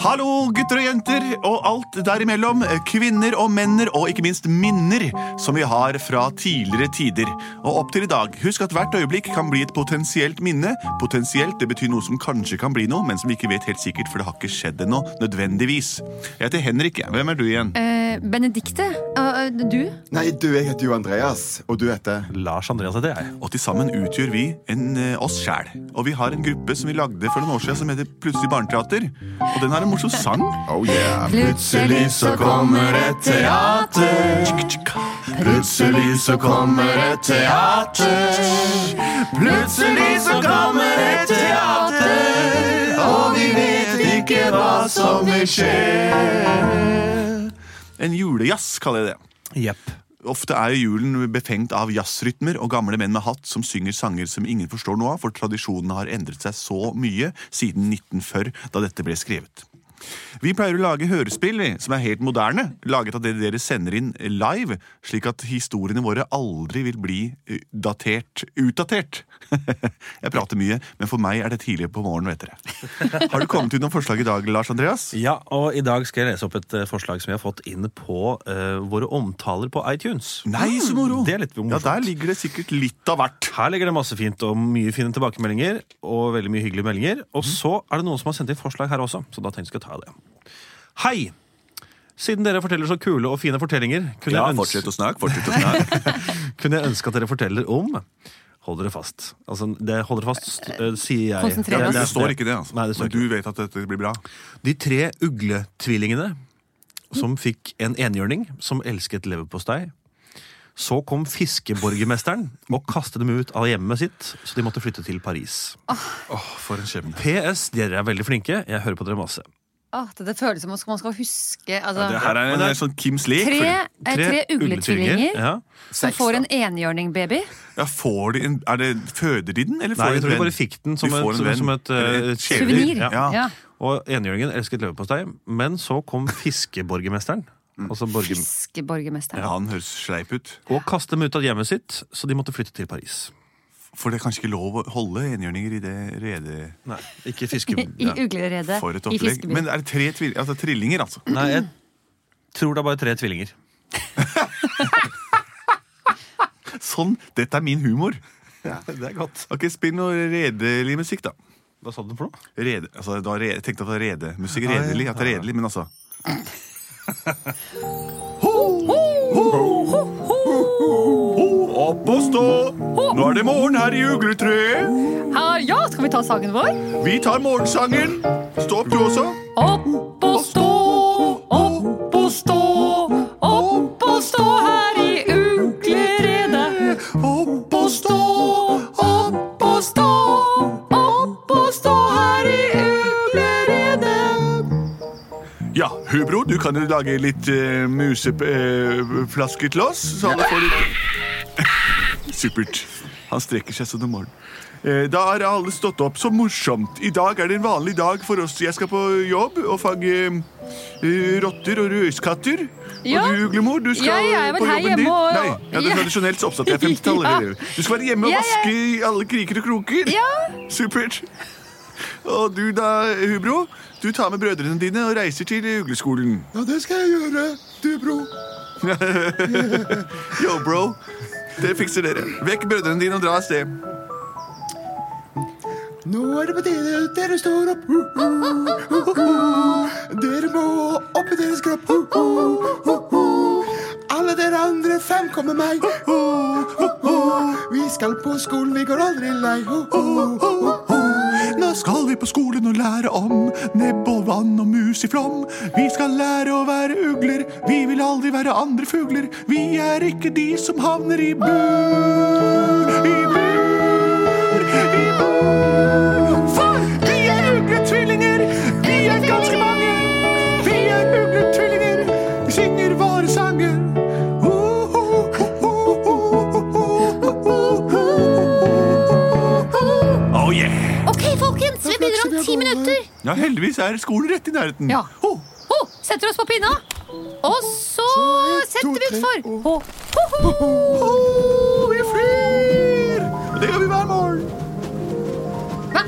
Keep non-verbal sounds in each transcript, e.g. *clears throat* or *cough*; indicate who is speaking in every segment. Speaker 1: Hallo, gutter og jenter, og alt derimellom. Kvinner og menner, og ikke minst minner, som vi har fra tidligere tider. Og opp til i dag. Husk at hvert øyeblikk kan bli et potensielt minne. Potensielt, det betyr noe som kanskje kan bli noe, men som vi ikke vet helt sikkert, for det har ikke skjedd ennå, nødvendigvis. Jeg heter Henrik. jeg. Hvem er du igjen?
Speaker 2: Eh, Benedikte, eh, du?
Speaker 3: Nei, du, jeg heter jo Andreas, og du heter
Speaker 4: Lars Andreas heter jeg.
Speaker 1: Og til sammen utgjør vi en, eh, oss sjæl. Og vi har en gruppe som vi lagde for noen år siden som heter Plutselig barneteater. Og den har en morsom sang.
Speaker 3: Oh yeah.
Speaker 2: Plutselig så kommer et teater.
Speaker 3: Plutselig så kommer et teater.
Speaker 1: Plutselig så kommer et teater, og vi vet ikke hva som vil skje. En julejazz kaller jeg det.
Speaker 4: Jepp.
Speaker 1: Ofte er jo julen befengt av jazzrytmer og gamle menn med hatt som synger sanger som ingen forstår noe av, for tradisjonene har endret seg så mye siden 1940, da dette ble skrevet. Vi pleier å lage hørespill vi, som er helt moderne, laget av det dere sender inn live, slik at historiene våre aldri vil bli eh, datert utdatert. *laughs* Jeg prater mye, men for meg er det tidlig på morgenen, vet dere. Har du kommet ut noen forslag i dag, Lars Andreas?
Speaker 4: Ja, og i dag skal jeg lese opp et eh, forslag som jeg har fått inn på eh, våre omtaler på iTunes. Mm,
Speaker 1: Nei, så moro!
Speaker 4: Det er litt
Speaker 1: Ja,
Speaker 4: morsomt.
Speaker 1: der ligger det sikkert litt av hvert.
Speaker 4: Her ligger det masse fint og mye fine tilbakemeldinger. Og veldig mye hyggelige meldinger.
Speaker 1: Mm.
Speaker 4: Og så er det noen som har sendt inn forslag her også, så da tenkte jeg å ta det. Hei! Siden dere forteller så kule og fine fortellinger, kunne, jeg, ønske,
Speaker 1: å snakke, fortsett å snakke.
Speaker 4: kunne jeg ønske at dere forteller om Hold dere fast. Altså, det holder fast, st- eh, sier jeg.
Speaker 2: Konsentrer
Speaker 4: Det-
Speaker 2: oss.
Speaker 1: Det står ikke det, altså.
Speaker 4: Nei, det står
Speaker 1: Men du vet at dette blir bra.
Speaker 4: De tre ugletvillingene som fikk en enhjørning som elsket leverpostei. Så kom fiskeborgermesteren og kastet dem ut av hjemmet sitt, så de måtte flytte til Paris.
Speaker 1: for en skjebne.
Speaker 4: PS, dere er veldig flinke. Jeg hører på dere masse.
Speaker 2: Åh, det, det føles som om man skal huske altså,
Speaker 1: Det her er en
Speaker 4: Men det-
Speaker 1: sånn Kims lek.
Speaker 2: Tre,
Speaker 1: fordi-
Speaker 2: eh, tre ugletvillinger
Speaker 4: Ja.
Speaker 2: som får en enhjørningbaby.
Speaker 1: Ja, får de en, er det, Føder de den, eller får
Speaker 4: Nei,
Speaker 1: de en
Speaker 4: jeg tror de
Speaker 1: venn?
Speaker 4: bare fikk den som
Speaker 1: Du får
Speaker 4: et,
Speaker 1: en
Speaker 4: som,
Speaker 1: venn.
Speaker 4: som et,
Speaker 1: Eller
Speaker 4: eh,
Speaker 1: et
Speaker 4: kjæledyr.
Speaker 2: Suvenir.
Speaker 4: Ja.
Speaker 1: Ja.
Speaker 2: Ja.
Speaker 4: Og enhjørningen elsket leverpostei, men så kom fiskeborgermesteren. Altså borger...
Speaker 2: Fiskeborgermesteren.
Speaker 1: Han høres sleip ut.
Speaker 4: Og kastet dem ut av hjemmet sitt, så de måtte flytte til Paris.
Speaker 1: For det er kanskje ikke lov å holde enhjørninger i det redet
Speaker 4: Nei, ikke fiske...
Speaker 2: *laughs* I
Speaker 4: Ja.
Speaker 2: ugleredet
Speaker 1: for et
Speaker 2: i
Speaker 1: opplegg.
Speaker 2: fiskebyen.
Speaker 1: Men er det tre tvil altså, trillinger, altså?
Speaker 4: Nei, jeg tror det er bare tre tvillinger.
Speaker 1: Sånn! Dette er min humor.
Speaker 4: Det er godt.
Speaker 1: Ok, Spill noe redelig musikk, da.
Speaker 4: Hva sa du for noe?
Speaker 1: Rede, altså, da re, jeg tenkte at det var rede. Musikk
Speaker 4: ja.
Speaker 1: redelig, at det er redelig, men altså Opp og stå! Nå er det morgen her i ugletreet.
Speaker 2: Ah, ja, skal vi ta sangen vår?
Speaker 1: Vi tar morgensangen. Stå opp, du også.
Speaker 2: Opp og stå, opp og stå, opp og stå her i ugleredet. Opp og stå, opp og stå, opp og stå her i ugleredet.
Speaker 1: Ja, Hubro, du kan jo lage litt uh, museflasker til oss. Så alle får litt *laughs* Supert. Han strekker seg sånn om morgenen. Eh, Da har alle stått opp. Så morsomt. I dag er det en vanlig dag for oss. Jeg skal på jobb og fange eh, rotter og røyskatter.
Speaker 2: Ja.
Speaker 1: Og du, Uglemor, du skal
Speaker 2: Jeg er
Speaker 1: eh,
Speaker 2: vel
Speaker 1: på
Speaker 2: her
Speaker 1: jobben
Speaker 2: hjemme
Speaker 1: din.
Speaker 2: og-
Speaker 1: Nei, ja, det
Speaker 2: Ja.
Speaker 1: er tradisjonelt så oppsatt. Det er 50-tallet.
Speaker 2: *laughs* Ja.
Speaker 1: Du skal være hjemme og
Speaker 2: Jeg er-
Speaker 1: vaske i alle kriker og kroker.
Speaker 2: Ja.
Speaker 1: Supert. Og du da, Hubro? Du tar med brødrene dine og reiser til ugleskolen.
Speaker 3: Ja, det skal jeg gjøre, du, bro.
Speaker 1: Yo, bro. Det fikser dere. Vekk brødrene dine og dra av sted.
Speaker 3: Nå er det på tide dere står opp. Uh, uh, uh, uh. Dere må opp i deres kropp. Uh, uh, uh, uh. Alle dere andre fem kommer meg. Uh, uh, uh, uh. Vi skal på skolen, vi går aldri lei. Uh, uh, uh, uh.
Speaker 1: Nå skal vi på skolen og lære om nebb og vann og mus i flom. Vi skal lære å være ugler. Vi vil aldri være andre fugler. Vi er ikke de som havner i bur. I bur. I bur. For vi er ugletvillinger.
Speaker 3: er
Speaker 5: Ti
Speaker 3: gode.
Speaker 5: minutter!
Speaker 1: Ja, heldigvis er skolen rett i nærheten.
Speaker 5: Ja.
Speaker 1: Ho!
Speaker 5: Ho, setter oss på pinna. Og så setter vi utfor. Ho, ho, ho.
Speaker 1: Ho, vi flyr! Og det gjør vi hver morgen.
Speaker 5: Hva?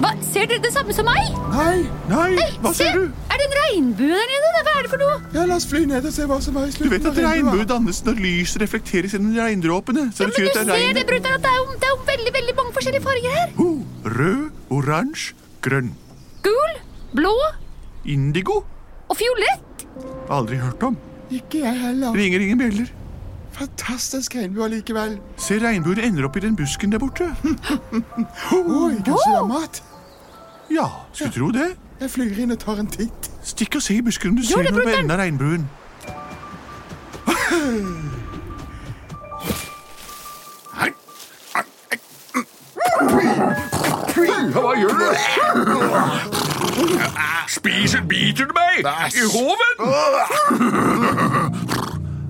Speaker 5: Hva? Ser dere det samme som meg?
Speaker 3: Nei,
Speaker 1: Nei, hva
Speaker 5: Se,
Speaker 1: ser du?
Speaker 5: Er det en regnbue der nede? eller Hva er det for noe?
Speaker 3: ja, la oss fly ned og se hva som er i
Speaker 1: Du
Speaker 3: slutten.
Speaker 1: vet at
Speaker 3: av regnbua.
Speaker 1: regnbue dannes når lys reflekteres gjennom regndråpene. Så
Speaker 5: Ja,
Speaker 1: det
Speaker 5: men du
Speaker 1: betyr at
Speaker 5: ser
Speaker 1: det er regn.
Speaker 5: det, Brutter'n, at det er, jo, det er jo veldig veldig mange forskjellige farger her.
Speaker 1: Ho, rød, oransje, grønn.
Speaker 5: Gul, blå
Speaker 1: Indigo?
Speaker 5: og fiolett.
Speaker 1: Aldri hørt om.
Speaker 3: Ikke jeg heller.
Speaker 1: Ringer ingen bjeller.
Speaker 3: Fantastisk regnbue allikevel.
Speaker 1: Se, regnbuen ender opp i den busken der borte. Hm,
Speaker 3: Oi, kanskje det er mat?
Speaker 1: Ja, skulle tro det.
Speaker 3: Jeg flyr inn og tar en titt.
Speaker 1: Stikk og se i busken om du
Speaker 5: Gjør
Speaker 1: ser
Speaker 5: det,
Speaker 1: noe ved
Speaker 5: brutter'n.
Speaker 1: enden av regnbuen.
Speaker 6: Hva gjør du? Spiser biter du meg? I hoven?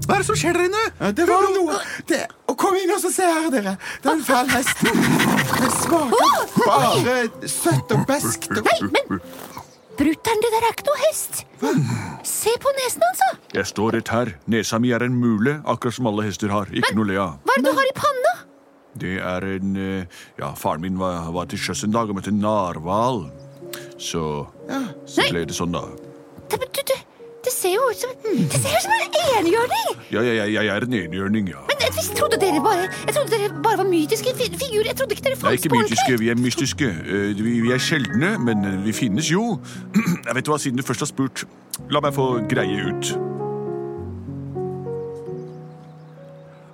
Speaker 1: Hva er det som skjer der inne?
Speaker 3: Ja, det var noe. Det, og kom inn og så se her, dere. Det er en fæl hest. Det smaker bare søtt og beskt. og-
Speaker 5: Nei, men Brutter'n, det der er ikke noe hest. Se på nesen hans, da.
Speaker 1: Jeg står rett her. Nesa mi er en mule, akkurat som alle hester har. Ikke noe le av.
Speaker 5: Hva er det du har i panna?
Speaker 1: Det er en eh, Ja, faren min var, var til sjøs en dag og møtte en narhval. Så, så
Speaker 5: Nei.
Speaker 1: ble det sånn, da.
Speaker 5: Det, men du, du, det ser jo ut som Det ser ut som en enhjørning!
Speaker 1: Ja, ja, ja, jeg er en enhjørning, ja.
Speaker 5: Men jeg trodde dere bare Jeg trodde dere bare var mytiske fi- figurer. Jeg trodde ikke dere
Speaker 1: Nei,
Speaker 5: fantes
Speaker 1: ikke
Speaker 5: på
Speaker 1: mytiske,
Speaker 5: ordentlig.
Speaker 1: vi er mystiske. Eh, Vi, vi er sjeldne, men eh, vi finnes jo. *clears throat* Jeg vet hva, Siden du først har spurt, la meg få greie ut.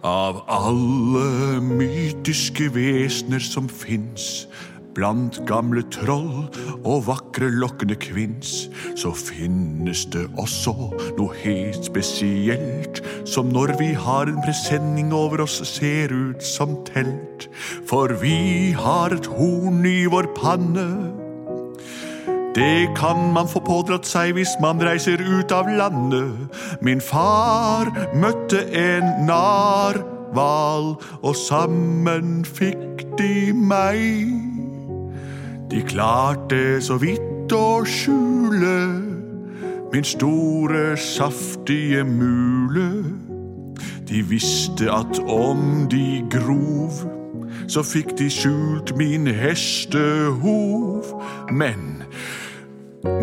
Speaker 1: Av alle mytiske vesener som fins, blant gamle troll og vakre, lokkende kvinns, så finnes det også noe helt spesielt, som når vi har en presenning over oss, ser ut som telt. For vi har et horn i vår panne. Det kan man få pådratt seg hvis man reiser ut av landet. Min far møtte en narhval, og sammen fikk de meg. De klarte så vidt å skjule min store, saftige mule. De visste at om de grov, så fikk de skjult min hestehov. Men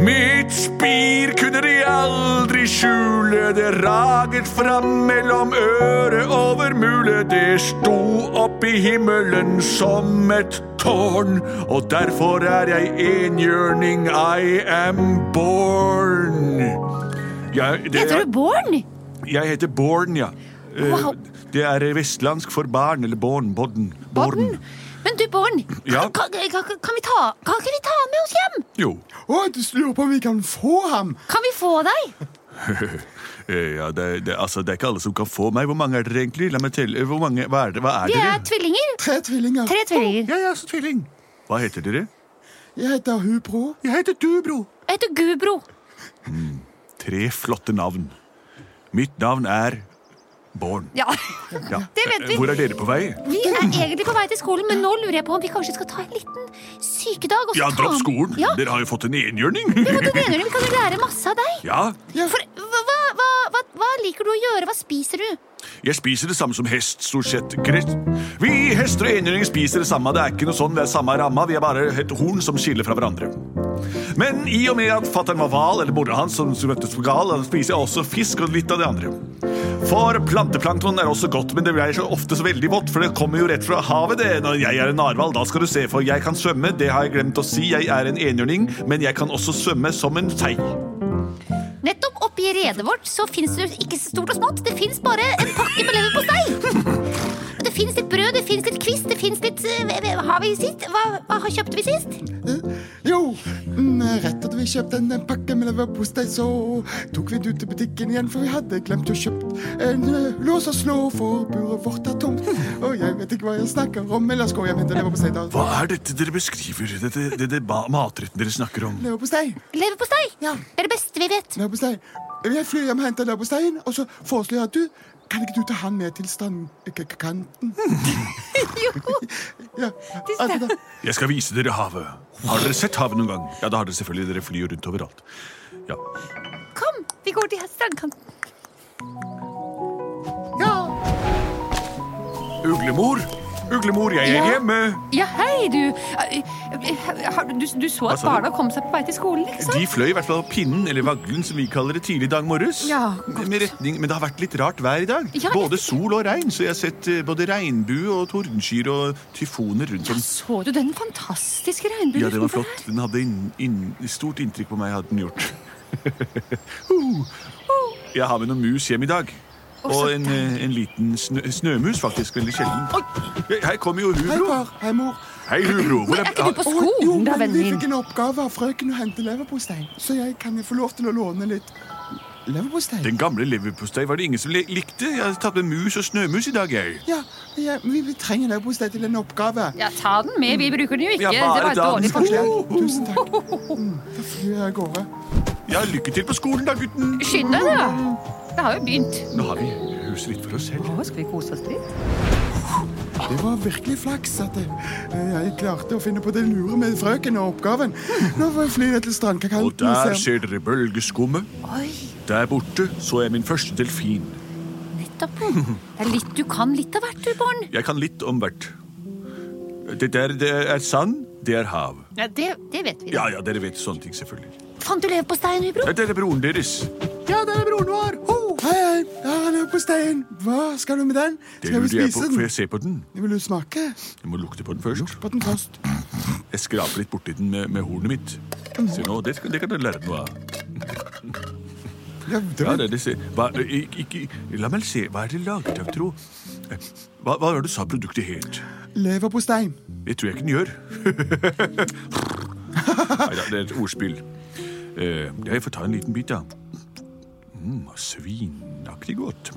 Speaker 1: mitt spir kunne de aldri skjule, det raget fram mellom øret over mulet. Det sto opp i himmelen som et tårn, og derfor er jeg enhjørning, I am born. Jeg, det,
Speaker 5: Heter du Born?
Speaker 1: jeg heter Born, ja. Eh,
Speaker 5: Wow.
Speaker 1: Det er eh, vestlandsk for barn, eller Born, Bodden.
Speaker 5: Born? Men du, Born,
Speaker 1: Ja?
Speaker 5: kan, kan, kan, kan, vi ta, kan ikke vi ta han med oss hjem?
Speaker 1: Jo.
Speaker 3: Å, du lurer på om vi kan få ham?
Speaker 5: Kan vi få deg?
Speaker 1: Eh, Ja, det, det, altså, det er ikke alle som kan få meg. Hvor mange er dere egentlig? La meg telle. Eh, Hvor mange, hva er, det, hva er
Speaker 5: Vi er
Speaker 1: dere?
Speaker 5: tvillinger.
Speaker 3: Tre tvillinger.
Speaker 5: Tre tvillinger.
Speaker 1: Ja, ja, så tvilling. Hva heter dere?
Speaker 3: Jeg heter Hubro.
Speaker 1: Jeg heter du, bro.
Speaker 5: Jeg heter Gubro.
Speaker 1: Tre flotte navn. Mitt navn er Born.
Speaker 5: Ja,
Speaker 1: Ja.
Speaker 5: det vet
Speaker 1: Eh,
Speaker 5: vi.
Speaker 1: Hvor er dere på vei?
Speaker 5: Vi er egentlig på vei til skolen, men nå lurer jeg på om vi kanskje skal ta en liten sykedag. Og så
Speaker 1: Ja,
Speaker 5: ta
Speaker 1: dropp
Speaker 5: han-
Speaker 1: skolen.
Speaker 5: Ja,
Speaker 1: Dere har jo fått en enhjørning. *laughs*
Speaker 5: men du mener hun kan jo lære masse av deg.
Speaker 1: Ja,
Speaker 5: For hva, hva- hva, hva, hva liker du å gjøre? Hva spiser du?
Speaker 1: Jeg spiser det samme som hest, stort sett. Greit. Vi hester og enhjørninger spiser det samme. Det er ikke noe sånn, det er samme ramma. Vi er bare et horn som skiller fra hverandre. Men i og med at fattern var hval, eller mora hans som møttes på gal, da spiser jeg også fisk og litt av det andre. For planteplankton er også godt, men det blir så ofte så veldig vått, for det kommer jo rett fra havet, det. Når jeg er en narhval, da skal du se, for jeg kan svømme, det har jeg glemt å si, jeg er en enhjørning, men jeg kan også svømme som en sei.
Speaker 5: Nettopp oppi redet vårt så fins det ikke så stort og smått. Det fins bare en pakke med leverpostei.
Speaker 2: *laughs*
Speaker 5: Det fins litt brød, det fins litt kvist, det fins litt eh, hva- hva Har vi sist? Hva, hva har- kjøpte vi sist?
Speaker 3: Jo, mm, rett at vi kjøpte en en pakke med leverpostei, så tok vi det ut til butikken igjen, for vi hadde glemt å kjøpe en eh, lås og slå, for buret vårt er tomt. Og jeg vet ikke hva jeg snakker om, men la oss gå hjem og hente leverpostei. da.
Speaker 1: Hva er dette dere beskriver, dette, dette ba- matretten dere snakker om?
Speaker 3: Leverpostei.
Speaker 5: Leverpostei.
Speaker 3: Ja.
Speaker 5: Det er det beste vi vet.
Speaker 3: Leverpostei. Jeg flyr hjem og henter nabostein, og så foreslår jeg at du Kan ikke du ta han med til eh, strandkanten? jo. ja, altså, da.
Speaker 1: Jeg skal vise dere havet. Har dere sett havet noen gang? Ja, da har dere selvfølgelig. Dere flyr jo rundt overalt. Ja.
Speaker 5: Kom, vi går til strandkanten.
Speaker 1: Uglemor! Uglemor, jeg er
Speaker 2: Ja.
Speaker 1: hjemme!
Speaker 2: Ja, hei, du. Eh, har- Du, du så
Speaker 1: Hva
Speaker 2: at
Speaker 1: sa du?
Speaker 2: barna kom seg på vei til skolen, ikke sant?
Speaker 1: De fløy i hvert fall opp pinnen, eller vaglen som vi kaller det, tidlig i dag morges.
Speaker 2: Ja, godt.
Speaker 1: med retning, men det har vært litt rart vær i dag.
Speaker 2: Ja, jeg-
Speaker 1: både sol og regn, så jeg har sett eh, både regnbue og tordenskyer og tyfoner rundt om.
Speaker 2: Så du den fantastiske regnbuen
Speaker 1: Ja, det var
Speaker 2: utenfor
Speaker 1: flott. Den hadde inn, inn, stort inntrykk på meg, hadde den gjort.
Speaker 2: *laughs*
Speaker 1: Jeg har med noen mus hjem i dag. Og en, eh, en liten snø, snømus, faktisk. Veldig sjelden. Her kommer jo
Speaker 3: Hei,
Speaker 1: Hubro.
Speaker 3: far. Hei, mor.
Speaker 1: Hei, Hubro. Hvor
Speaker 2: Er ikke du
Speaker 3: Å,
Speaker 2: på
Speaker 3: jo,
Speaker 2: skolen, da,
Speaker 3: men
Speaker 2: vennen
Speaker 3: vi fikk
Speaker 2: min?
Speaker 3: en oppgave av frøken å hente leverpostein, så jeg kan jeg få lov til å låne litt leverpostein?
Speaker 1: Den gamle leverpostei var det ingen som li- likte. Jeg har tatt med mus og snømus i dag, jeg.
Speaker 3: Ja, ja vi, vi trenger leverpostei til en oppgave.
Speaker 2: Ja, ta den med. Vi bruker den jo
Speaker 1: Ja,
Speaker 2: ikke. Det
Speaker 1: bare
Speaker 2: var et
Speaker 1: ta den.
Speaker 2: dårlig
Speaker 1: Kanskje
Speaker 2: forslag.
Speaker 3: Forslag. Tusen takk. Mm, Da flyr jeg av gårde.
Speaker 1: Ja, lykke til på skolen, da, gutten.
Speaker 2: Skynd deg, da. Det har jo begynt.
Speaker 1: Nå har vi huset litt for oss selv.
Speaker 2: Å, skal vi kose oss litt?
Speaker 3: Det var virkelig flaks at jeg, jeg klarte å finne på det lure med frøken og oppgaven. Nå får jeg fly ned til strandkakanten.
Speaker 1: Og der
Speaker 3: og se-
Speaker 1: ser dere bølgeskummet.
Speaker 5: Oi,
Speaker 1: Der borte så jeg min første delfin.
Speaker 5: nettopp.
Speaker 1: *laughs*
Speaker 5: Det er litt, du kan litt av hvert, du, barn.
Speaker 1: Jeg kan litt om hvert. Det der det er sand, det er hav.
Speaker 5: Ja, det, det vet vi.
Speaker 1: Ja, ja, dere vet sånne ting, selvfølgelig.
Speaker 5: Fant du leverposteien, Hubro?
Speaker 1: Det er dere broren deres.
Speaker 3: Ja, der er broren vår. Ho! Hei, hei. Der er leverpostein. Hva skal du med den?
Speaker 1: Det
Speaker 3: Skal vi
Speaker 1: lurer jeg på.
Speaker 3: spise
Speaker 1: Får
Speaker 3: den?
Speaker 1: jeg se på den?
Speaker 3: Vil du smake
Speaker 1: Jeg må lukte på den først.
Speaker 3: på den først?
Speaker 1: Jeg skraper litt borti den med, med hornet mitt. Se nå, det, skal- det kan dere lære noe av.
Speaker 3: Ja, det
Speaker 1: Ja,
Speaker 3: var
Speaker 1: det, det ser. Hva, ø, ikke, ikke, la meg se, hva er det laget av, tro? Eh, Hva, hva var det du sa produktet het?
Speaker 3: leverpostei.
Speaker 1: Det tror jeg ikke den gjør. *laughs* Neida, det er et ordspill. Eh, jeg får ta en liten bit, da. Mm, svinaktig godt.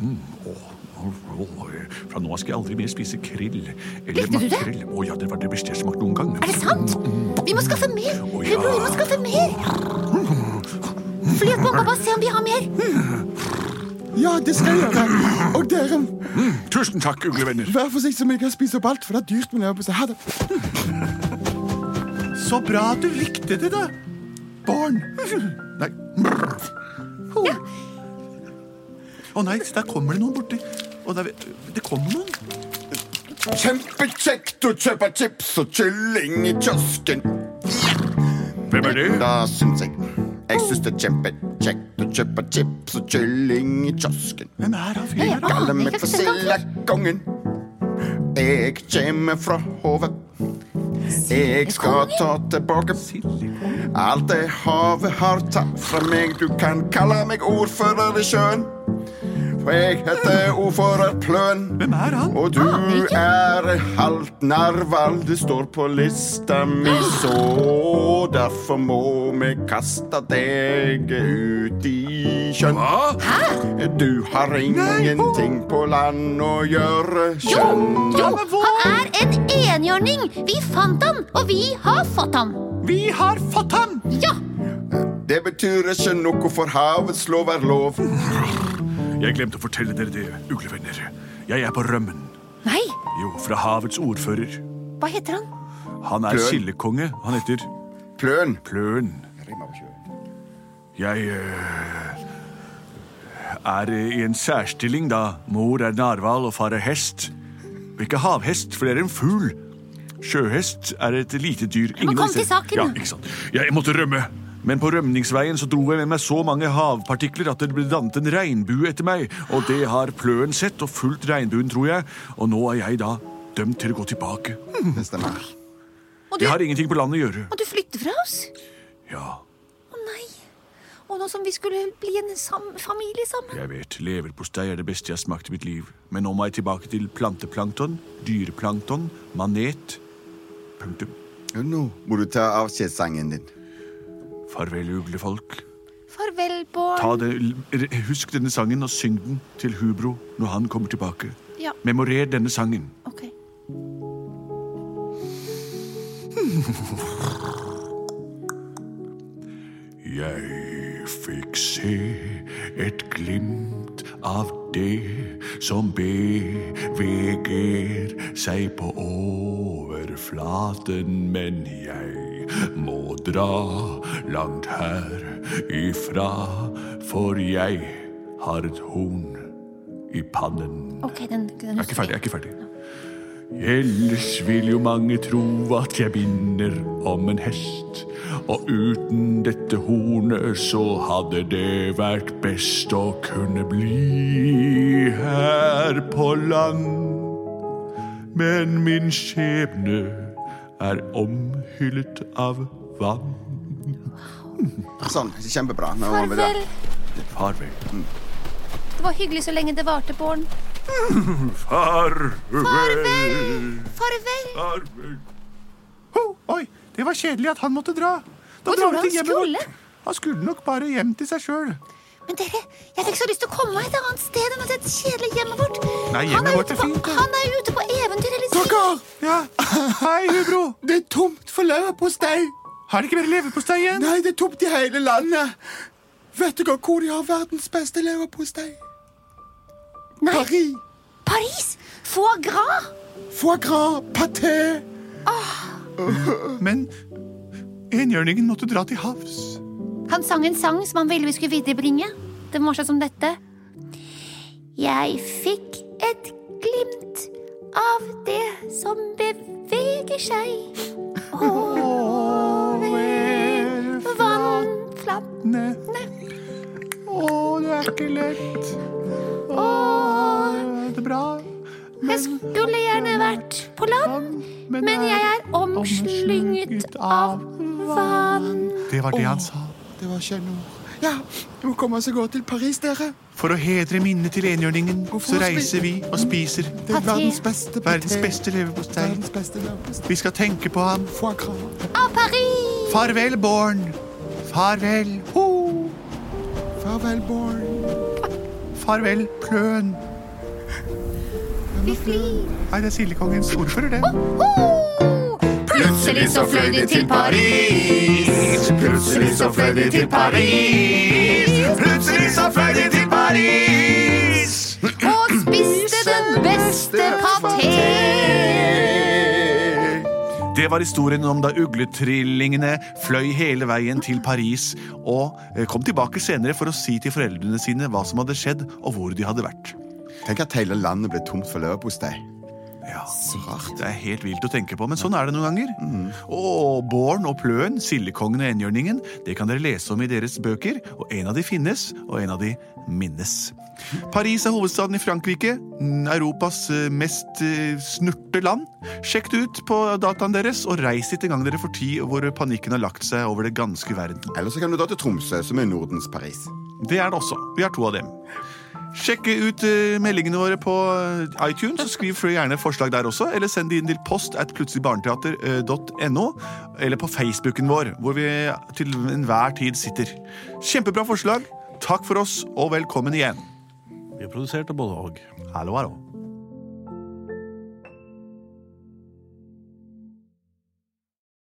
Speaker 1: Mm, åh, åh, åh, eh, Fra nå av skal jeg aldri mer spise krill. Eller
Speaker 5: Likte du det?
Speaker 1: makrell. Å ja, det var det beste jeg smakte noen gang.
Speaker 5: Er det sant? Vi må skaffe mer.
Speaker 1: Å, ja.
Speaker 5: Hubro, vi må skaffe mer. Fly opp på pappa, se om vi har mer.
Speaker 3: Ja, det skal jeg gjøre. Og dere,
Speaker 1: Tusen takk, uglevenner.
Speaker 3: vær forsiktig så vi ikke spiser opp alt, for det er dyrt med leverpostei. Ha det.
Speaker 1: Så bra at du likte det, da. Barn. Nei. Å nei, der kommer det noen borti. Å, der, det kommer noen.
Speaker 7: Kjempekjekt å kjøpe chips og kylling i kiosken.
Speaker 1: Hvem er det?
Speaker 7: Da syns jeg Jeg syns det er kjempekjekt å kjøpe chips og kylling i kiosken.
Speaker 1: Hvem er han
Speaker 5: Ja,
Speaker 1: fyren?
Speaker 5: ja. Ah,
Speaker 7: Kaller
Speaker 5: jeg
Speaker 7: meg
Speaker 5: kan
Speaker 7: for
Speaker 5: se han før.
Speaker 7: sildekongen. Jeg kommer fra Hove. Jeg skal ta tilbake alt det havet har tatt fra meg. Du kan kalle meg ordfører i sjøen. For jeg heter ordfører Pløen.
Speaker 1: Hvem er han?
Speaker 7: Og
Speaker 5: Ah,
Speaker 7: du er halvt narval, det står på lista mi,
Speaker 5: Ah.
Speaker 7: så derfor må vi kaste deg ut i sjøen. Du har ingenting på land å gjøre,
Speaker 5: Jo,
Speaker 7: skjønn.
Speaker 5: jo, han er en enhjørning. Vi fant han, og vi har fått han.
Speaker 1: Vi har fått ham!
Speaker 5: Ja,
Speaker 7: Det betyr ikke noe for havets lov er lov.
Speaker 1: Jeg glemte å fortelle dere det, uglevenner. Jeg er på rømmen.
Speaker 5: nei,
Speaker 1: Jo, fra havets ordfører.
Speaker 5: hva heter han?
Speaker 1: Han er
Speaker 7: Pløn.
Speaker 1: sildekonge. Han heter
Speaker 7: Pløn.
Speaker 1: Pløn. Jeg eh, er i en særstilling, da. Mor er narhval, og far er hest. Og Ikke havhest, for det er en fugl. Sjøhest er et lite dyr. Ingen
Speaker 5: kom
Speaker 1: av disse-
Speaker 5: til saken.
Speaker 1: Ja, ikke sant. Jeg måtte rømme. Men på rømningsveien så dro jeg med meg så mange havpartikler at det ble dannet en regnbue etter meg. Og det har pløen sett og fulgt regnbuen, tror jeg. Og nå er jeg da dømt til å gå tilbake.
Speaker 7: Det stemmer.
Speaker 5: Må du,
Speaker 1: Jeg har ingenting på landet å gjøre.
Speaker 5: må du flytte fra oss?
Speaker 1: Ja,
Speaker 5: Å nei. Og nå som vi skulle bli en sam familie sammen.
Speaker 1: Jeg vet, leverpostei er det beste jeg har smakt i mitt liv. Men nå må jeg tilbake til planteplankton, dyreplankton, manet. Punktum.
Speaker 7: Nå må du ta avskjedssangen din.
Speaker 1: Farvel, uglefolk.
Speaker 5: Farvel, barn.
Speaker 1: Ta det, l- husk denne sangen og syng den til Hubro når han kommer tilbake.
Speaker 5: Ja.
Speaker 1: Memorer denne sangen.
Speaker 5: Ok.
Speaker 1: Jeg
Speaker 8: fikk se et glimt av det som beveger seg på overflaten, men jeg må dra langt her ifra, for jeg har et horn i pannen.
Speaker 5: Ok, den,
Speaker 8: Jeg
Speaker 5: den
Speaker 8: er ikke ferdig. jeg er ikke ferdig. Ellers vil jo mange tro at jeg minner om en hest. Og uten dette hornet så hadde det vært best å kunne bli her på land. Men min skjebne er omhyllet av vann.
Speaker 7: Sånn. Kjempebra. Nå må vi da.
Speaker 5: Farvel.
Speaker 8: Farvel.
Speaker 5: Det var hyggelig så lenge det
Speaker 8: *laughs*
Speaker 5: varte, Bård.
Speaker 8: Farvel.
Speaker 5: Farvel.
Speaker 8: Farvel.
Speaker 1: Ho, oi, det var kjedelig at han måtte dra. Da
Speaker 5: Hvor
Speaker 1: drar
Speaker 5: tror du
Speaker 1: vi til
Speaker 5: han
Speaker 1: hjemmet
Speaker 5: skulle?
Speaker 1: vårt. Han skulle nok bare hjem til seg sjøl.
Speaker 5: Men dere, jeg fikk så lyst til å komme meg et annet sted enn dette kjedelige hjemmet vårt.
Speaker 1: Nei,
Speaker 5: han,
Speaker 1: hjemmet
Speaker 5: er
Speaker 1: vårt
Speaker 5: ute
Speaker 1: er
Speaker 5: på,
Speaker 1: fint, det.
Speaker 5: han er jo ute på eventyr hele tiden.
Speaker 1: Takka! Ja. Hei, hubro.
Speaker 3: Det er tomt for leverpostei.
Speaker 1: Har det ikke mer leverpostei igjen?
Speaker 3: Nei, det er tomt i hele landet. Vet dere hvor de har verdens beste leverpostei?
Speaker 5: Nei,
Speaker 3: Paris.
Speaker 5: Paris! Foie gras!
Speaker 3: Foie gras, paté.
Speaker 1: Men enhjørningen måtte dra til havs.
Speaker 5: Han sang en sang som han ville vi skulle viderebringe. Den var sånn som dette. Jeg fikk et glimt av det som beveger seg over vannflammene.
Speaker 1: Å, det er ikke lett. Å, det er bra.
Speaker 5: Jeg skulle gjerne vært på land, men jeg er omslynget av vann.
Speaker 1: Det var det han sa.
Speaker 3: Det var skjønnord. Ja, vi må komme oss og gå til Paris, dere.
Speaker 1: For å hedre minnet til enhjørningen, så
Speaker 3: Hvorfor
Speaker 1: reiser vi og spiser
Speaker 3: Det er
Speaker 5: Paté.
Speaker 3: verdens beste paté.
Speaker 1: verdens beste leverpostei.
Speaker 3: Verdens beste leverpostei.
Speaker 1: Vi skal tenke på ham.
Speaker 3: Foie gras.
Speaker 5: Av Paris!
Speaker 1: Farvel, Born. Farvel, ho.
Speaker 3: Farvel, Born.
Speaker 1: Farvel, Pløn.
Speaker 5: Vi flyr.
Speaker 1: Nei, det er Sildekongens ordfører, det.
Speaker 5: Ho! Plutselig så fløy de til Paris.
Speaker 7: Plutselig så fløy de til Paris. Plutselig så fløy de til Paris.
Speaker 5: og spiste den beste paté.
Speaker 1: Det var historien om da ugletrillingene fløy hele veien til Paris og eh, kom tilbake senere for å si til foreldrene sine hva som hadde skjedd og hvor de hadde vært.
Speaker 7: Tenk at hele landet ble tomt for leverpostei.
Speaker 1: Ja, Det er helt vilt å tenke på, men sånn er det noen ganger. Og Born og Pløen, Sildekongen og Enhjørningen, det kan dere lese om i deres bøker, og en av de finnes, og en av de minnes. Paris er hovedstaden i Frankrike, mm, Europas eh, mest eh, snurte land. Sjekk det ut på dataen deres, og reis dit en gang dere får tid hvor panikken har lagt seg over det ganske verden.
Speaker 7: Eller så kan du dra til Tromsø, som er Nordens Paris.
Speaker 1: Det er det også. Vi har to av dem. Sjekk ut eh, meldingene våre på eh, iTunes. og Skriv for gjerne forslag der også, eller send de inn til post at eh, plutseligbarneteater.no, eller på Facebooken vår, hvor vi til enhver tid sitter. Kjempebra forslag. Takk for oss, og velkommen igjen.
Speaker 4: Vi har produsert av både og.
Speaker 1: Hallo, hallo.